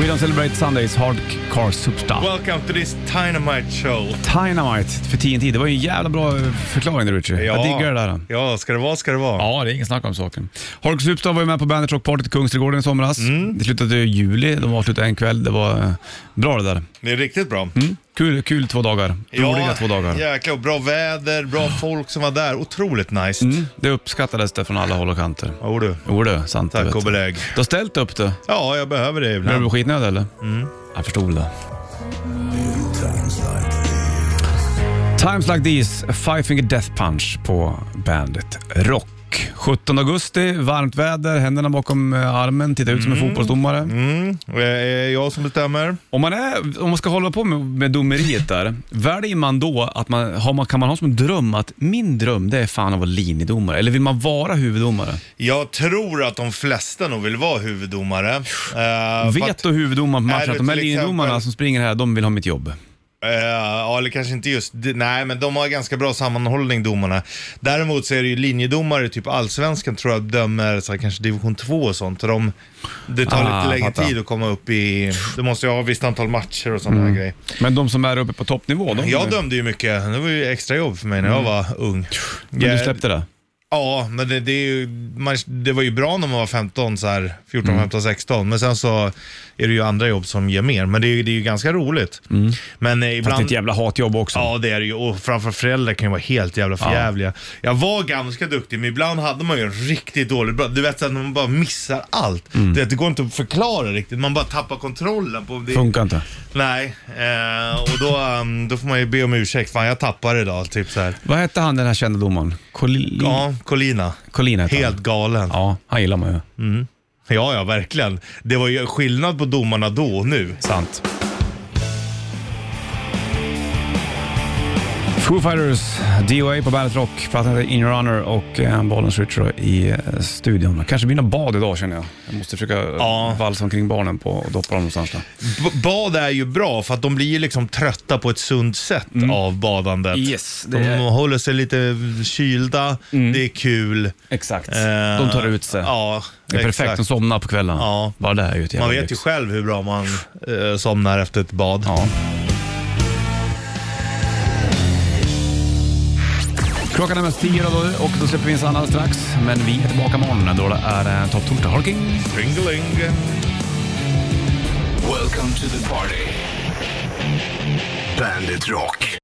Speaker 2: We don't celebrate Sundays, Hard Car Superstar.
Speaker 3: Welcome to this Dynamite show.
Speaker 2: Dynamite för TNT. Det var ju en jävla bra eh, förklaring där Richie. Jag diggar det där.
Speaker 3: Ja, ska det vara ska det vara.
Speaker 2: Ja, det är inget snack om saken. Hark Superstar var ju med på Bandet Rock Party i Kungsträdgården i somras.
Speaker 3: Mm.
Speaker 2: Det slutade i juli, de avslutade en kväll. Det var eh, bra det där.
Speaker 3: Det är riktigt bra.
Speaker 2: Kul, kul två dagar. Mm. Roliga två dagar.
Speaker 3: Jäklar, och bra väder, bra folk som var där. Otroligt nice. Mm.
Speaker 2: Det uppskattades det från alla håll och kanter.
Speaker 3: Jo du,
Speaker 2: Jo det, sant. jag
Speaker 3: tack
Speaker 2: vet.
Speaker 3: och belägg.
Speaker 2: Du har ställt upp det.
Speaker 3: Ja, jag behöver det
Speaker 2: Blev
Speaker 3: ibland.
Speaker 2: du skitnödig eller? Mm. Jag förstod det. Times like these, Five Finger Death Punch på bandet Rock. 17 augusti, varmt väder, händerna bakom eh, armen, titta ut som en
Speaker 3: Mm.
Speaker 2: fotbollsdomare.
Speaker 3: Och Det är Eh, jag som bestämmer.
Speaker 2: Om, man är, om man ska hålla på med, med domeriet där, väljer man då att man, har man, kan man ha som dröm att min dröm det är fan att vara linjedomare? Eller vill man vara huvuddomare?
Speaker 3: Jag tror att de flesta nog vill vara huvuddomare. Eh, för
Speaker 2: Vet
Speaker 3: att-
Speaker 2: då huvuddomaren på
Speaker 3: Är
Speaker 2: matchen
Speaker 3: du
Speaker 2: att de här
Speaker 3: till
Speaker 2: linjedomarna
Speaker 3: exempel-
Speaker 2: som springer här, de vill ha mitt jobb?
Speaker 3: Eh, Ja, eller kanske inte just det. Nej, men de har ganska bra sammanhållning, domarna. Däremot så är det ju linjedomare, typ allsvenskan tror jag dömer så här, kanske division 2 och sånt. Så de, det tar
Speaker 2: Ah,
Speaker 3: lite längre
Speaker 2: fattar.
Speaker 3: tid att komma upp i... Du måste ju ha ett visst antal matcher och sådana
Speaker 2: Mm.
Speaker 3: här grejer.
Speaker 2: Men de som är uppe på toppnivå, de...
Speaker 3: Jag dömde ju mycket. Det var ju extra jobb för mig när jag var ung.
Speaker 2: Mm. Men du
Speaker 3: Jag-
Speaker 2: släppte det?
Speaker 3: Ja, men det, det, är ju, man, det var ju bra när man var 15, så här, 14,
Speaker 2: Mm.
Speaker 3: 15, 16. Men sen så är det ju andra jobb som ger mer. Men det är ju, det är ju ganska roligt. Men eh,
Speaker 2: Mm. Fast det är
Speaker 3: ibland...
Speaker 2: ett jävla hatjobb också.
Speaker 3: Ja, det är det ju. Och framför föräldrar kan ju vara helt jävla förjävliga. Jag var ganska duktig, men ibland hade man ju en riktigt dålig bra. Du vet såhär när man bara missar allt. Du vet, det går inte att förklara riktigt. Man bara tappar kontrollen. på det.
Speaker 2: Funkar inte.
Speaker 3: Nej, eh, och då, ehm, då får man ju be om ursäkt. Fan, jag tappar idag. Typ så här.
Speaker 2: Vad hette han den här kända domaren? Colin?
Speaker 3: Ja, Colina.
Speaker 2: Colin hette
Speaker 3: Helt
Speaker 2: Han.
Speaker 3: galen.
Speaker 2: Ja, han gillar man ju.
Speaker 3: Ja, ja, verkligen. Det var ju skillnad på domarna då och nu.
Speaker 2: Sant. Foo Fighters, DOA på Bandet Rock, plattan heter In Your Honor och eh, Bollens Ritcher i eh, studion. Kanske blir något bad idag känner jag. Jag måste försöka ja.
Speaker 3: Ja.
Speaker 2: valsa omkring barnen på och doppa dem någonstans. Där.
Speaker 3: B- bad är ju bra för att de blir ju liksom trötta på ett sunt sätt av badandet.
Speaker 2: Mm. Yes, det
Speaker 3: de
Speaker 2: är-
Speaker 3: håller sig lite kylda, det är kul.
Speaker 2: Exakt.
Speaker 3: Eh,
Speaker 2: De tar ut sig.
Speaker 3: Ja,
Speaker 2: det är perfekt,
Speaker 3: exakt.
Speaker 2: de somnar på kvällen.
Speaker 3: Ja.
Speaker 2: Bara det är ju ett jävla
Speaker 3: Man vet ju
Speaker 2: lyx.
Speaker 3: själv hur bra man eh, somnar efter ett bad.
Speaker 2: Ja. Klockan är mest tio då, och då släpper vi in Sanna strax. Men vi är tillbaka imorgon då det är eh, topptorsdag. Ha det king.
Speaker 3: Ringeling.
Speaker 5: Welcome to the party. Bandit Rock.